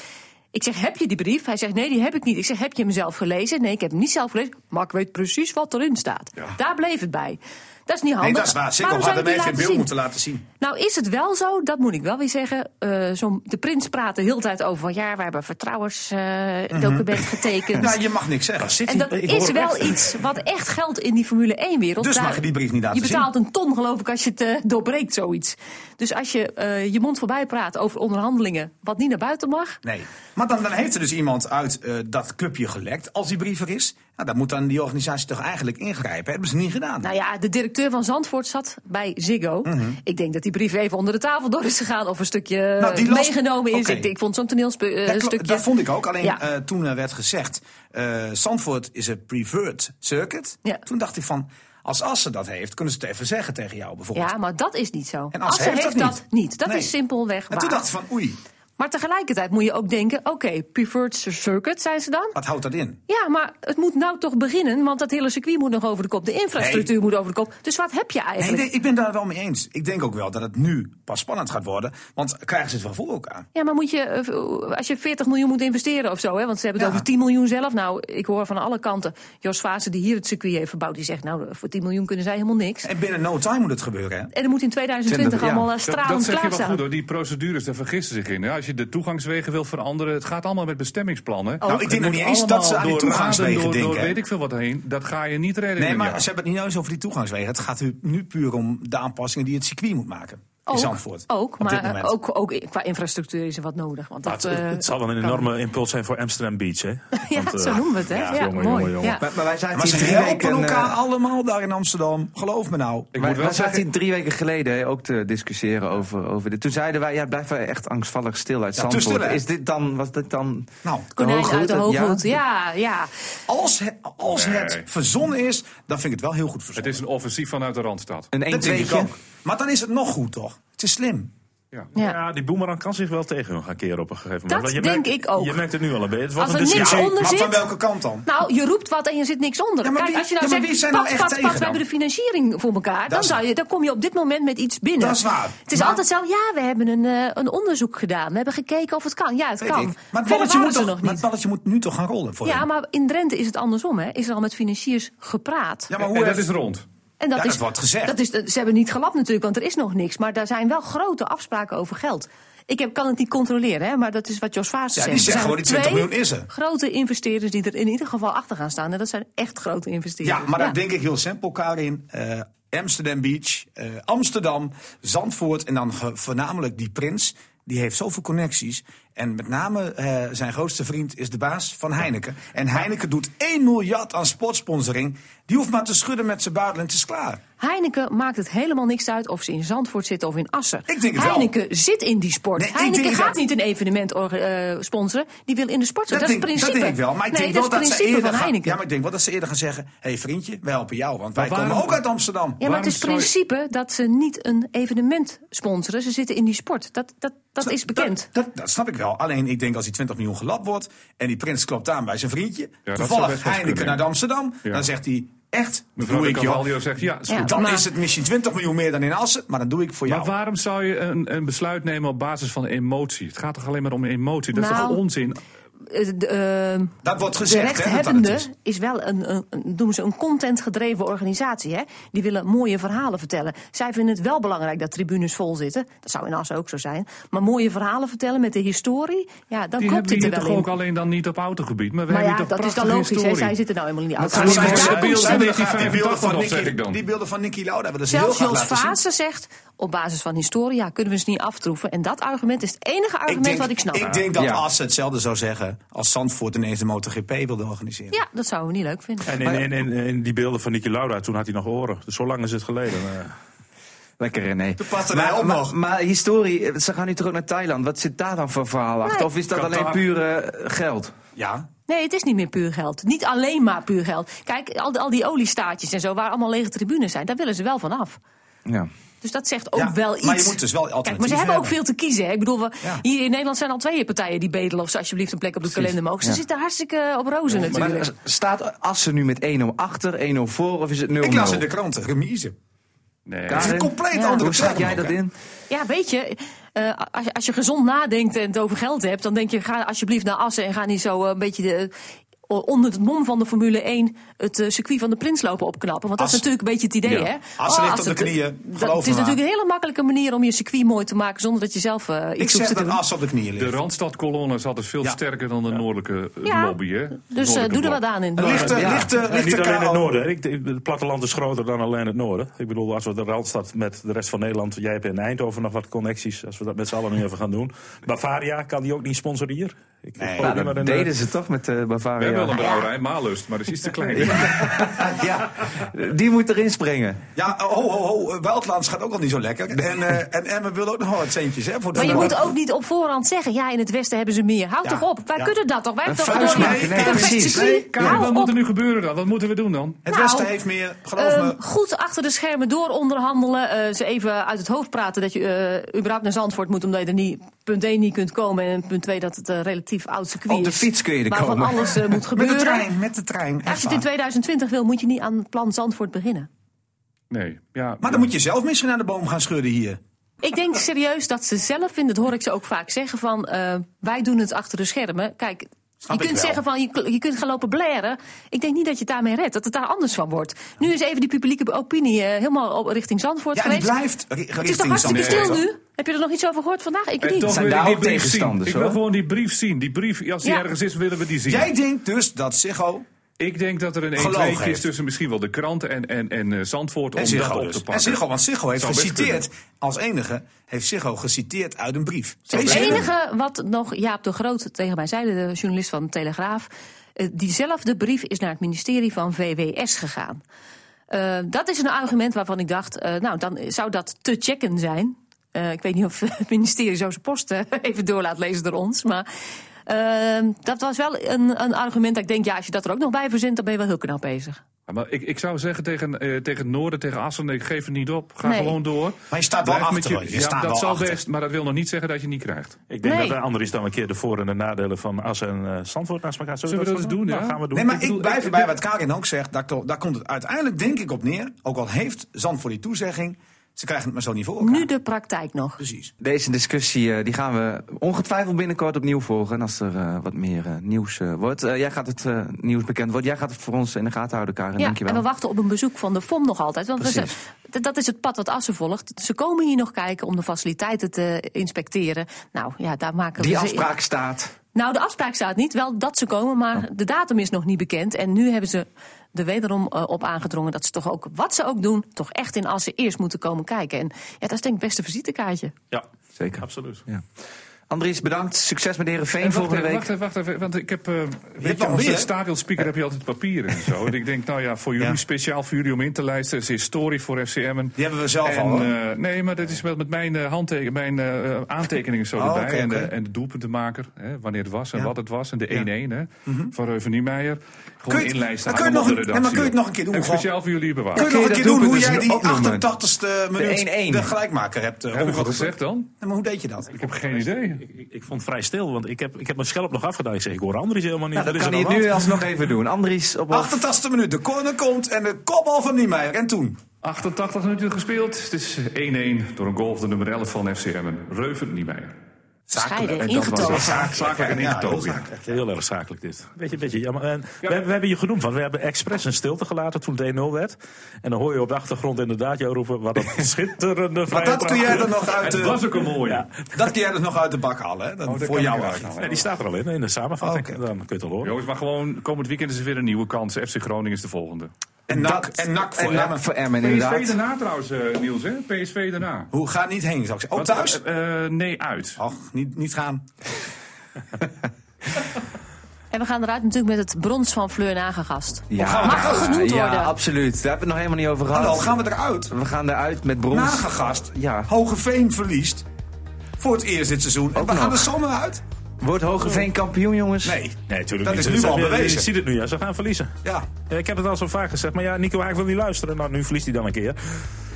Speaker 1: ik zeg, heb je die brief? Hij zegt, nee, die heb ik niet. Ik zeg, heb je hem zelf gelezen? Nee, ik heb hem niet zelf gelezen, maar ik weet precies wat erin staat. Daar bleef het bij. Dat is niet handig.
Speaker 3: Nee, dat is waar. Sikkel
Speaker 1: Waarom
Speaker 3: had
Speaker 1: zou je
Speaker 3: hem
Speaker 1: die
Speaker 3: even in
Speaker 1: laten
Speaker 3: beeld moeten
Speaker 1: zien?
Speaker 3: laten zien.
Speaker 1: Nou is het wel zo, dat moet ik wel weer zeggen. eh, zo'n- de prins praat de hele tijd over van ja, we hebben
Speaker 3: Mhm.
Speaker 1: vertrouwensdocument document getekend.
Speaker 3: Ja, je mag niks zeggen.
Speaker 1: en dat is wel iets wat echt geldt in die Formule 1-wereld.
Speaker 3: Dus mag je die brief niet laten
Speaker 1: Je betaalt een ton, geloof ik, als je het eh, doorbreekt, zoiets. Dus als je eh, je mond voorbij praat over onderhandelingen, wat niet naar buiten mag.
Speaker 3: Nee. Maar dan, dan heeft er dus iemand uit eh, dat clubje gelekt, als die brief er is. Nou, dan moet dan die organisatie toch eigenlijk ingrijpen. Hebben ze niet gedaan.
Speaker 1: Nou ja, de directeur van Zandvoort zat bij Ziggo.
Speaker 3: Mhm.
Speaker 1: Ik denk dat die brief even onder de tafel door is gegaan. Of een stukje eh,
Speaker 3: Nou, die las-
Speaker 1: meegenomen is.
Speaker 3: Oké.
Speaker 1: Ik, ik vond zo'n eh,
Speaker 3: Dat klo-
Speaker 1: toneelstukje.
Speaker 3: Dat vond ik ook. Alleen
Speaker 1: Ja.
Speaker 3: eh, toen eh, werd gezegd, eh Zandvoort is een preferred circuit.
Speaker 1: Ja.
Speaker 3: Toen dacht ik van, als Assen dat heeft, kunnen ze het even zeggen tegen jou bijvoorbeeld.
Speaker 1: Ja, maar dat is niet zo.
Speaker 3: En
Speaker 1: Assen heeft, dat, niet. Dat
Speaker 3: Nee.
Speaker 1: is simpelweg
Speaker 3: En
Speaker 1: waar.
Speaker 3: toen dacht ik van, oei,
Speaker 1: Maar tegelijkertijd moet je ook denken, oké, preferred circuit zijn ze dan.
Speaker 3: wat houdt dat in?
Speaker 1: Ja, maar het moet nou toch beginnen, want dat hele circuit moet nog over de kop. De infrastructuur moet over de kop. Dus wat heb je
Speaker 3: Nee,
Speaker 1: eigenlijk?
Speaker 3: nee, ik ben daar wel mee eens. Ik denk ook wel dat het nu pas spannend gaat worden. Want krijgen ze het wel voor elkaar?
Speaker 1: Ja, maar moet je, eh, als je 40 miljoen moet investeren of zo, hè, want ze hebben het
Speaker 3: Ja.
Speaker 1: over 10 miljoen zelf. Nou, ik hoor van alle kanten, Jos Vaassen die hier het circuit heeft verbouwd, die zegt, nou, voor 10 miljoen kunnen zij helemaal niks.
Speaker 3: En binnen no time moet het gebeuren, hè?
Speaker 1: En er moet in 2020
Speaker 2: 20, ja.
Speaker 1: allemaal eh,
Speaker 4: Dat- Dat
Speaker 1: stralend
Speaker 4: zeg je wel
Speaker 1: klaarstaan.
Speaker 4: goed hoor, die procedures, daar vergissen zich in. hè. Als je de toegangswegen wil veranderen, het gaat allemaal met bestemmingsplannen.
Speaker 3: Nou, ik denk nog
Speaker 4: Het
Speaker 3: niet
Speaker 4: moet
Speaker 3: eens dat ze aan
Speaker 4: allemaal
Speaker 3: die
Speaker 4: door
Speaker 3: toegangswegen
Speaker 4: raden, door-
Speaker 3: denken.
Speaker 4: Door weet ik veel wat heen, dat ga je niet redden. in
Speaker 3: Nee,
Speaker 4: een
Speaker 3: maar
Speaker 4: jaar.
Speaker 3: ze hebben het niet eens over die toegangswegen. Het gaat u- nu puur om de aanpassingen die het circuit moet maken. in Zandvoort.
Speaker 1: ook,
Speaker 3: op dit
Speaker 1: maar eh,
Speaker 3: moment.
Speaker 1: ook, ook qua infrastructuur is er wat nodig. Want
Speaker 5: het,
Speaker 1: dat, eh,
Speaker 5: het zal wel een enorme impuls zijn voor Amsterdam Beach, hè?
Speaker 1: ja,
Speaker 5: Want, eh,
Speaker 1: zo noemen we het, hè? Ja,
Speaker 5: jongen,
Speaker 1: mooi.
Speaker 5: jongen, jongen.
Speaker 1: Ja.
Speaker 2: Maar, maar wij zaten
Speaker 3: Maar ze
Speaker 2: hier drie
Speaker 3: helpen
Speaker 2: weken...
Speaker 3: elkaar
Speaker 2: eh,
Speaker 3: allemaal daar in Amsterdam. Geloof me nou.
Speaker 4: Ik
Speaker 2: Maar
Speaker 4: moet wel
Speaker 2: we zaten
Speaker 4: zeggen-
Speaker 2: hier drie weken geleden hè, ook te discussiëren over, over dit. Toen zeiden wij, ja, blijf wel echt angstvallig stil uit
Speaker 3: Ja, te
Speaker 2: Zandvoort.
Speaker 3: stil, hè?
Speaker 2: is dit dan, was dit dan...
Speaker 3: Nou,
Speaker 1: Konijn
Speaker 2: hooghoed,
Speaker 1: uit de
Speaker 2: het-
Speaker 1: hooghoed,
Speaker 2: ja.
Speaker 1: ja, ja.
Speaker 3: als het, als
Speaker 4: Nee.
Speaker 3: het verzonnen is, dan vind ik het wel heel goed
Speaker 4: Het
Speaker 3: verzonnen.
Speaker 4: is een offensief vanuit de Randstad.
Speaker 2: Een
Speaker 3: dat denk ik
Speaker 2: 1-2'tje.
Speaker 3: ook. Maar dan is het nog goed, toch? Het is slim.
Speaker 4: Ja.
Speaker 5: Ja.
Speaker 1: Ja.
Speaker 5: die boemerang kan zich wel tegen hem gaan keren op een gegeven moment.
Speaker 1: Dat
Speaker 5: Want je
Speaker 1: denk
Speaker 5: merkt-
Speaker 1: ik ook.
Speaker 5: Je merkt het nu al een beetje. Het was
Speaker 1: Als
Speaker 5: een
Speaker 1: er niks
Speaker 5: discussie.
Speaker 1: onder
Speaker 3: maar
Speaker 1: zit-
Speaker 3: van welke kant dan?
Speaker 1: Nou, je roept wat en je zit niks onder.
Speaker 3: Ja, maar
Speaker 1: Kijk,
Speaker 3: wie-
Speaker 1: als je nou
Speaker 3: ja, maar wie
Speaker 1: zegt,
Speaker 3: zijn
Speaker 1: pat,
Speaker 3: nou echt
Speaker 1: pat, pat,
Speaker 3: tegen
Speaker 1: we
Speaker 3: dan?
Speaker 1: hebben de financiering voor elkaar. Dan,
Speaker 3: is-
Speaker 1: zou je, dan kom je op dit moment met iets binnen.
Speaker 3: Dat is waar.
Speaker 1: Het is
Speaker 3: Maar-
Speaker 1: altijd zo, ja, we hebben een, eh, een onderzoek gedaan. We hebben gekeken of het kan. Ja, het
Speaker 3: Weet
Speaker 1: kan.
Speaker 3: ik. Maar het,
Speaker 1: Verder
Speaker 3: balletje
Speaker 1: waren
Speaker 3: moet
Speaker 1: ze
Speaker 3: toch,
Speaker 1: nog
Speaker 3: maar
Speaker 1: niet.
Speaker 3: het balletje moet nu toch gaan rollen voor
Speaker 1: Ja,
Speaker 3: hem?
Speaker 1: maar in Drenthe is het andersom. Hè? Is er al met financiers gepraat.
Speaker 3: Ja, maar hoe
Speaker 4: En, en dat
Speaker 3: heeft-
Speaker 4: is rond.
Speaker 1: En
Speaker 3: Ja, dat wordt gezegd.
Speaker 1: Dat is, ze hebben niet gelapt natuurlijk, want er is nog niks. Maar daar zijn wel grote afspraken over geld. Ik heb, kan het niet controleren, hè, maar dat is wat Jos Vaas
Speaker 3: Ja,
Speaker 1: zegt.
Speaker 3: die
Speaker 1: Er
Speaker 3: zeggen
Speaker 1: zijn
Speaker 3: gewoon die 20
Speaker 1: twee
Speaker 3: miljoen is er.
Speaker 1: grote investeerders die er in ieder geval achter gaan staan. En dat zijn echt grote investeerders.
Speaker 3: Ja, maar dan denk ik heel simpel, Karin. Eh, Amsterdam Beach, eh, Amsterdam, Zandvoort en dan ge- voornamelijk die prins. Die heeft zoveel connecties. En met name eh, zijn grootste vriend is de baas van Heineken. En Heineken doet 1 miljard aan sportsponsoring. Die hoeft maar te schudden met zijn buidel en het is klaar.
Speaker 1: Heineken maakt het helemaal niks uit of ze in Zandvoort zitten of in Assen.
Speaker 3: Ik denk het wel.
Speaker 1: Heineken zit in die sport.
Speaker 3: Nee, ik
Speaker 1: Heineken
Speaker 3: denk
Speaker 1: gaat
Speaker 3: dat-
Speaker 1: niet een evenement or- eh, sponsoren. Die wil in de sport zitten. Dat,
Speaker 3: denk-
Speaker 1: is het principe.
Speaker 3: denk ik wel. Maar ik
Speaker 1: nee,
Speaker 3: denk
Speaker 1: dat
Speaker 3: wel
Speaker 1: is het
Speaker 3: dat ze
Speaker 1: principe
Speaker 3: eerder
Speaker 1: van
Speaker 3: gaan,
Speaker 1: Heineken.
Speaker 3: Ja, maar ik denk wel dat ze eerder gaan zeggen: hé hey vriendje, wij helpen jou. Want wij
Speaker 4: Maar waarom-
Speaker 3: komen ook uit Amsterdam.
Speaker 1: Ja, maar het is
Speaker 4: Waarom zou
Speaker 1: principe dat ze niet een evenement sponsoren. Ze zitten in die sport. Dat, dat, dat is bekend.
Speaker 3: Dat, dat, dat snap ik wel. Alleen ik denk als die 20 miljoen gelapt wordt en die prins klopt aan bij zijn vriendje.
Speaker 4: dat zou
Speaker 3: toevallig
Speaker 4: best wel
Speaker 3: Heineken
Speaker 4: kunnen.
Speaker 3: naar Amsterdam.
Speaker 4: Ja.
Speaker 3: Dan zegt hij echt, dat
Speaker 4: Mevrouw
Speaker 3: doe
Speaker 4: de
Speaker 3: ik joh.
Speaker 4: Cavalio zegt ja, is
Speaker 1: Ja.
Speaker 4: goed.
Speaker 3: Dan
Speaker 1: Maar-
Speaker 3: is het misschien 20 miljoen meer dan in Assen, maar dan doe ik voor
Speaker 4: Maar
Speaker 3: jou.
Speaker 4: waarom zou je een, een besluit nemen op basis van emotie? Het gaat toch alleen maar om emotie? Dat is
Speaker 1: Nou,
Speaker 4: toch onzin?
Speaker 1: Eh, de, eh,
Speaker 3: dat wordt
Speaker 1: de
Speaker 3: gezegd. hè, dat dat het
Speaker 1: rechthebbende
Speaker 3: is.
Speaker 1: is wel een, een, een- doen ze een contentgedreven organisatie. Hè? Die willen mooie verhalen vertellen. Zij vinden het wel belangrijk dat tribunes vol zitten. Dat zou in Assen ook zo zijn. Maar mooie verhalen vertellen met de historie, ja, dan
Speaker 4: Die
Speaker 1: komt
Speaker 4: hebben
Speaker 1: dit
Speaker 4: hier
Speaker 1: er
Speaker 4: toch
Speaker 1: wel
Speaker 4: ook
Speaker 1: in.
Speaker 4: alleen dan niet op autogebied. Maar we
Speaker 1: Maar
Speaker 4: hebben
Speaker 1: ja,
Speaker 4: hier toch
Speaker 1: dat is dan
Speaker 4: prachtige
Speaker 1: logisch. Hè?
Speaker 4: historie.
Speaker 1: Zij zitten nou helemaal in die auto.
Speaker 3: Gaan
Speaker 4: Goed,
Speaker 3: zij-
Speaker 4: maar
Speaker 3: daar
Speaker 4: zij
Speaker 3: komt
Speaker 4: beelden
Speaker 3: zij
Speaker 4: in
Speaker 3: weer-
Speaker 4: 1955
Speaker 3: die beelden van
Speaker 4: nog,
Speaker 3: Nicky-
Speaker 4: zeg ik dan.
Speaker 3: Die beelden van Nicky Lauda willen ze heel
Speaker 1: Zelfs
Speaker 3: graag
Speaker 1: Jos
Speaker 3: laten zien.
Speaker 1: Vaassen zegt, op basis van historie, ja, kunnen we ze niet aftroeven. En dat argument is het enige argument wat ik snap.
Speaker 3: Ik denk dat
Speaker 2: Ja.
Speaker 3: Assen hetzelfde zou zeggen als Zandvoort ineens de MotoGP wilde organiseren.
Speaker 1: Ja, dat zouden we niet leuk vinden.
Speaker 5: En in, in, in, in die beelden van Niki Lauda, toen had hij nog oren. Dus zo lang is het geleden. eh.
Speaker 2: Lekker René.
Speaker 3: past er
Speaker 2: maar,
Speaker 3: hij op
Speaker 2: maar,
Speaker 3: nog.
Speaker 2: maar historie, ze gaan nu terug naar Thailand. Wat zit daar dan voor verhaal achter?
Speaker 1: Nee.
Speaker 2: Of is dat
Speaker 4: Qatar.
Speaker 2: alleen puur eh, geld?
Speaker 3: ja.
Speaker 1: Nee, het is niet meer puur geld. Niet alleen maar puur geld. Kijk, al, die- al die oliestaatjes en zo, waar allemaal lege tribunes zijn, daar willen ze wel van af.
Speaker 2: Ja.
Speaker 1: Dus dat zegt ook
Speaker 3: Ja,
Speaker 1: wel iets.
Speaker 3: maar je moet dus wel
Speaker 1: Kijk,
Speaker 3: alternatieven
Speaker 1: maar ze hebben ook
Speaker 3: hebben.
Speaker 1: veel te kiezen. Hè? Ik bedoel, we,
Speaker 3: Ja.
Speaker 1: hier in Nederland zijn al twee partijen die bedelen of ze alsjeblieft een plek op de kalender mogen. Ze
Speaker 2: ja.
Speaker 1: zitten hartstikke op rozen
Speaker 2: Maar
Speaker 1: natuurlijk.
Speaker 2: eh, staat Assen nu met 1-0 achter, 1-0 voor of is het 0-0?
Speaker 3: Ik las in de kranten, remise.
Speaker 4: Nee.
Speaker 3: Het is een compleet
Speaker 1: Ja.
Speaker 3: andere
Speaker 2: Hoe schat jij
Speaker 3: term ook,
Speaker 2: dat
Speaker 3: hè.
Speaker 2: in?
Speaker 1: Ja, weet je, eh, als, je- als je gezond nadenkt en het over geld hebt, dan denk je, ga alsjeblieft naar Assen en ga niet zo eh, een beetje de, onder het mom van de Formule 1 het eh, circuit van de Prins lopen opknappen. Want dat is
Speaker 3: Assen-
Speaker 1: natuurlijk een beetje het idee,
Speaker 2: Ja.
Speaker 1: hè? Oh,
Speaker 3: Assen ligt op
Speaker 1: Assen,
Speaker 3: de knieën,
Speaker 1: dat-
Speaker 3: geloof
Speaker 1: Het
Speaker 3: me
Speaker 1: is
Speaker 3: maar.
Speaker 1: natuurlijk een hele makkelijke manier om je circuit mooi te maken zonder dat je zelf eh,
Speaker 3: Ik
Speaker 1: iets hoeft
Speaker 3: zeg
Speaker 1: te
Speaker 3: dat
Speaker 1: doen.
Speaker 3: Assen op de knieën
Speaker 4: De
Speaker 3: ligt.
Speaker 4: Randstadkolonne is altijd veel
Speaker 3: Ja.
Speaker 4: sterker dan de noordelijke eh,
Speaker 1: Ja.
Speaker 4: lobby. Hè?
Speaker 1: Dus eh,
Speaker 4: Noordelijke
Speaker 1: doe er
Speaker 4: blok.
Speaker 1: wat aan in.
Speaker 3: Een lichte,
Speaker 2: Ja.
Speaker 3: lichte,
Speaker 5: En
Speaker 3: lichte
Speaker 5: niet alleen het
Speaker 3: KO.
Speaker 5: noorden. Ik, ik- het platteland is groter dan alleen het noorden. Ik bedoel, als we de Randstad met de rest van Nederland... Jij hebt in Eindhoven nog wat connecties. Als we dat met z'n allen nu even gaan doen. Bavaria, kan die ook niet sponsoren hier? Ik
Speaker 3: Nee.
Speaker 5: hoop
Speaker 3: Nou,
Speaker 2: Nou,
Speaker 5: niet meer in
Speaker 2: dat
Speaker 5: de-
Speaker 2: deden ze toch met eh,
Speaker 4: We hebben wel
Speaker 2: Bavaria.
Speaker 4: een brouwerij, Maalust, maar dat is iets te klein.
Speaker 3: Ja,
Speaker 2: Die moet erin springen.
Speaker 3: ja oh, ho, ho, ho. Weltlands eh, gaat ook al niet zo lekker. En, eh, en Emmen wil ook nog wel wat centjes. Hè, voor de-
Speaker 1: Maar je moet ook niet op voorhand zeggen, ja, in het Westen hebben ze meer. Houd
Speaker 3: Ja.
Speaker 1: toch op, wij
Speaker 3: Ja.
Speaker 1: kunnen dat toch? Wij hebben
Speaker 2: Een
Speaker 1: toch
Speaker 2: vuist
Speaker 1: verdorie
Speaker 2: maken,
Speaker 1: een
Speaker 2: nee,
Speaker 1: perfect
Speaker 2: precies.
Speaker 1: circuit?
Speaker 4: Karin,
Speaker 1: Hou
Speaker 4: wat
Speaker 1: op.
Speaker 4: moet er nu gebeuren dan? Wat moeten we doen dan?
Speaker 3: Het
Speaker 1: Nou,
Speaker 3: Westen heeft meer, geloof
Speaker 1: Ehm,
Speaker 3: me.
Speaker 1: Goed achter de schermen door onderhandelen. eh, ze even uit het hoofd praten dat je eh, überhaupt naar Zandvoort moet. Omdat je er niet, punt 1 niet kunt komen. En punt 2 dat het een relatief oud circuit is.
Speaker 2: Op de fiets kun je er
Speaker 1: maar
Speaker 2: komen.
Speaker 1: van alles eh, moet
Speaker 3: Met
Speaker 1: gebeuren.
Speaker 3: de trein, met de trein.
Speaker 1: Als
Speaker 3: echt
Speaker 1: je het in
Speaker 3: waar.
Speaker 1: 2020 wil, moet je niet aan het plan Zandvoort beginnen.
Speaker 4: Nee. Ja,
Speaker 3: Maar dan moet je zelf misschien aan de boom gaan schudden hier.
Speaker 1: Ik denk serieus dat ze zelf vinden, dat hoor ik ze ook vaak zeggen, van eh, wij doen het achter de schermen. Kijk,
Speaker 3: Snap
Speaker 1: je
Speaker 3: ik
Speaker 1: kunt
Speaker 3: wel.
Speaker 1: zeggen van je, je kunt gaan lopen blaren. Ik denk niet dat je het daarmee redt, dat het daar anders van wordt. Nu is even die publieke opinie eh, helemaal op, richting Zandvoort
Speaker 3: Ja, en die blijft
Speaker 1: geweest.
Speaker 3: ri- richting
Speaker 1: Het is toch hartstikke
Speaker 3: Zandvoort.
Speaker 1: stil nu? Heb je er nog iets over gehoord vandaag? Ik
Speaker 4: En
Speaker 1: niet.
Speaker 4: Eh, toch
Speaker 2: Zijn
Speaker 4: wil ik
Speaker 2: daar
Speaker 4: die
Speaker 2: ook
Speaker 4: brief zien.
Speaker 2: tegenstanders,
Speaker 4: Ik wil
Speaker 2: hoor.
Speaker 4: gewoon die brief zien. Die brief, als die
Speaker 1: Ja.
Speaker 4: ergens is, willen we die zien.
Speaker 3: Jij denkt dus dat Ziggo
Speaker 4: Ik denk dat er een
Speaker 3: Geloof
Speaker 4: 1 is
Speaker 3: heeft.
Speaker 4: tussen misschien wel de krant en, en, en eh, Zandvoort
Speaker 3: en
Speaker 4: om dat
Speaker 3: Ziggo
Speaker 4: op
Speaker 3: dus.
Speaker 4: te
Speaker 3: En
Speaker 4: pakken.
Speaker 3: Ziggo, want Ziggo heeft
Speaker 4: Zou best
Speaker 3: geciteerd, als enige, heeft Ziggo geciteerd uit een brief.
Speaker 1: Het
Speaker 3: Twee zinnen.
Speaker 1: enige wat nog Jaap de Groot tegen mij zei, de journalist van de Telegraaf. eh, Diezelfde brief is naar het ministerie van VWS gegaan. Eh, dat is een argument waarvan ik dacht, eh, nou dan zou dat te checken zijn. Eh, ik weet niet of het ministerie zo zijn post eh, even door laat lezen door ons. Maar eh, dat was wel een, een argument dat ik denk, ja, als je dat er ook nog bij verzint, dan ben je wel heel knap bezig.
Speaker 4: Maar ik, ik zou zeggen tegen, eh, tegen het noorden, tegen Assen, ik geef het niet op. Ga
Speaker 1: Nee.
Speaker 4: gewoon door.
Speaker 3: Maar je staat wel
Speaker 4: Blijf
Speaker 3: achter. hoor. Je
Speaker 4: ja,
Speaker 3: staat
Speaker 4: dat
Speaker 3: wel
Speaker 4: zal
Speaker 3: achter.
Speaker 4: best, maar dat wil nog niet zeggen dat je het niet krijgt.
Speaker 5: Ik denk
Speaker 1: Nee.
Speaker 5: dat de ander is dan een keer de voor- en de nadelen van Assen en eh Zandvoort naast elkaar.
Speaker 4: Zullen we dat eens doen,
Speaker 5: Nou,
Speaker 4: ja?
Speaker 5: gaan we doen.
Speaker 3: Nee, maar
Speaker 4: bedoel,
Speaker 3: ik blijf
Speaker 4: ik-
Speaker 3: erbij wat Karin ook zegt. Daar, daar komt het uiteindelijk denk ik op neer. Ook al heeft Zand voor die toezegging. Ze krijgen het maar zo niet voor elkaar.
Speaker 1: Nu de praktijk nog.
Speaker 3: Precies.
Speaker 2: Deze discussie eh, die gaan we ongetwijfeld binnenkort opnieuw volgen. En als er eh, wat meer eh, nieuws eh, wordt. Eh, jij gaat het eh, nieuws bekend worden. Jij gaat het voor ons in de gaten houden, Karin.
Speaker 1: Ja,
Speaker 2: Dankjewel.
Speaker 1: en we wachten op een bezoek van de FOM nog altijd. Want we zijn- d- dat is het pad wat Assen volgt. Ze komen hier nog kijken om de faciliteiten te inspecteren. Nou ja, daar maken
Speaker 2: Die
Speaker 1: we ze-
Speaker 2: afspraak Oh. staat.
Speaker 1: Nou, de afspraak staat niet. Wel dat ze komen, maar de datum is nog niet bekend. En nu hebben ze er wederom eh, op aangedrongen dat ze toch ook, wat ze ook doen, toch echt in Assen eerst moeten komen kijken. En ja, dat is denk ik best een visitekaartje.
Speaker 5: Ja,
Speaker 2: Zeker.
Speaker 5: absoluut.
Speaker 2: Andries, bedankt. Succes met Herenveen
Speaker 4: En wacht
Speaker 2: volgende
Speaker 4: even,
Speaker 2: week.
Speaker 4: wacht even, wacht even, want ik heb, eh weet je,
Speaker 3: nog
Speaker 4: als
Speaker 3: meer?
Speaker 4: stadionspeaker heb je altijd papieren en zo. en ik denk, nou ja, voor jullie
Speaker 3: Ja.
Speaker 4: speciaal voor jullie om in te lijsten, is historie voor FCM'en.
Speaker 3: Die hebben we zelf
Speaker 4: En,
Speaker 3: al. hoor.
Speaker 4: eh, nee, maar dat is wel met mijn, eh, handteken, mijn eh, aantekeningen zo
Speaker 3: Oh,
Speaker 4: erbij.
Speaker 3: oké,
Speaker 4: en, de,
Speaker 3: oké.
Speaker 4: en de doelpuntenmaker, hè, wanneer het was en
Speaker 3: Ja.
Speaker 4: wat het was. En de 1-1
Speaker 3: Ja. Mhm.
Speaker 4: hè, van Reuven Niemeyer.
Speaker 3: Kun
Speaker 4: Gewoon
Speaker 3: je het-
Speaker 4: inlijsten.
Speaker 3: dan kun je
Speaker 4: hangen
Speaker 3: het nog
Speaker 4: op de
Speaker 3: een- ja, maar kun je het nog een keer doen,
Speaker 4: Heb ik
Speaker 3: gewoon?
Speaker 4: speciaal voor jullie bewaard.
Speaker 3: Kun je
Speaker 2: Oké,
Speaker 3: nog een
Speaker 2: dat
Speaker 3: keer doen
Speaker 2: doelpunt
Speaker 3: hoe
Speaker 2: is
Speaker 3: jij
Speaker 2: een
Speaker 4: dus
Speaker 3: die
Speaker 2: opnoemen.
Speaker 3: 88ste minuut
Speaker 2: 1-1.
Speaker 3: de, gelijkmaker hebt. eh,
Speaker 4: Heb ik al
Speaker 3: omgeroepen?
Speaker 4: gezegd dan?
Speaker 3: Ja, Maar hoe deed je dat?
Speaker 4: Ik heb geen idee.
Speaker 5: Ik, ik, ik vond het vrij stil, want ik heb, ik heb mijn schelp nog afgedaan. Ik zeg, ik hoor Andries helemaal niet.
Speaker 2: Nou, dat
Speaker 5: Wat is
Speaker 2: kan
Speaker 5: er
Speaker 2: hij
Speaker 5: aan de
Speaker 2: nu
Speaker 5: hand?
Speaker 2: alsnog even doen. Andries op af.
Speaker 3: 88ste minuut, de corner komt en de kopbal van Niemeyer. En toen?
Speaker 4: 88 minuten gespeeld. Het is 1-1 door een goal van de nummer 11 van FCM'en. Reuven Niemeyer.
Speaker 1: Scheiden,
Speaker 2: En dat was
Speaker 1: ingetogen.
Speaker 4: Zaak, zakelijk en
Speaker 3: Ja, heel
Speaker 4: ingetogen. ja.
Speaker 3: zakelijk.
Speaker 5: Heel erg zakelijk dit. Beetje, beetje jammer. En we, we hebben je genoemd, want we hebben expres een stilte gelaten toen het 1-0 werd. En dan hoor je op de achtergrond inderdaad jou roepen, wat een schitterende vrije
Speaker 3: Maar dat
Speaker 5: trap.
Speaker 3: kun jij er nog uit,
Speaker 4: Het
Speaker 3: eh,
Speaker 4: was ook een mooie.
Speaker 3: dat kun jij er nog uit de bak halen. Hè? Dat-
Speaker 4: dat
Speaker 3: voor
Speaker 4: kan
Speaker 3: jou
Speaker 4: ik
Speaker 3: eigenlijk.
Speaker 4: wel.
Speaker 5: Nee, die staat er al in, in de samenvatting.
Speaker 3: Oké.
Speaker 5: Dan kun je het al horen.
Speaker 4: Jongens, maar gewoon komend weekend is er weer een nieuwe kans. FC Groningen is de volgende.
Speaker 3: En nak, en nak voor
Speaker 2: en nak
Speaker 3: Emmen.
Speaker 2: voor Emmen,
Speaker 4: PSV
Speaker 2: inderdaad.
Speaker 4: daarna trouwens, eh, Niels. Hè? PSV daarna.
Speaker 3: Hoe ga niet heen, zou ik zeggen. Oh,
Speaker 4: Wat-
Speaker 3: thuis?
Speaker 4: eh, eh, nee, uit.
Speaker 3: Och, niet, niet gaan.
Speaker 2: Ah,
Speaker 1: En we gaan eruit natuurlijk met het brons van Fleur Nagegast.
Speaker 2: Ja.
Speaker 3: gaan we
Speaker 1: Mag dat genoemd
Speaker 2: Ja,
Speaker 1: worden?
Speaker 2: absoluut. Daar hebben we het nog helemaal niet over gehad.
Speaker 3: Hallo, gaan we eruit?
Speaker 2: we gaan eruit met brons.
Speaker 3: Nagegast.
Speaker 2: Ja.
Speaker 3: Hogeveen verliest. Voor het eerst dit seizoen. En
Speaker 2: Ook
Speaker 3: we gaan
Speaker 2: nog.
Speaker 3: er zomaar uit?
Speaker 2: Wordt Hogeveen kampioen, jongens?
Speaker 3: Nee.
Speaker 5: Nee, natuurlijk
Speaker 3: Dat
Speaker 5: niet.
Speaker 3: is nu al
Speaker 5: je- je
Speaker 3: bewezen.
Speaker 5: ziet het nu, ja. Ze gaan verliezen.
Speaker 3: Ja,
Speaker 5: Ja, Ik heb het al zo vaak gezegd, maar ja, Nico Haak wil niet luisteren. Nou, nu verliest hij dan een keer.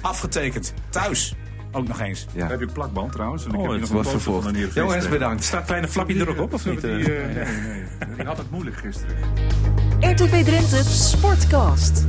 Speaker 3: afgetekend. Thuis. Ook nog eens.
Speaker 2: Ja.
Speaker 4: Daar heb je plakband trouwens. En ik
Speaker 5: Oh,
Speaker 4: heb hier
Speaker 5: het
Speaker 4: nog
Speaker 2: Wordt
Speaker 4: een foto van
Speaker 2: vervolgd.
Speaker 4: een hier
Speaker 2: Jongens,
Speaker 4: gisteren.
Speaker 2: bedankt.
Speaker 5: Staat kleine flapje er ook op, of niet?
Speaker 4: Die,
Speaker 5: Eh,
Speaker 4: eh, nee, nee. Die had het moeilijk gisteren.
Speaker 6: RTV Drenthe Sportcast.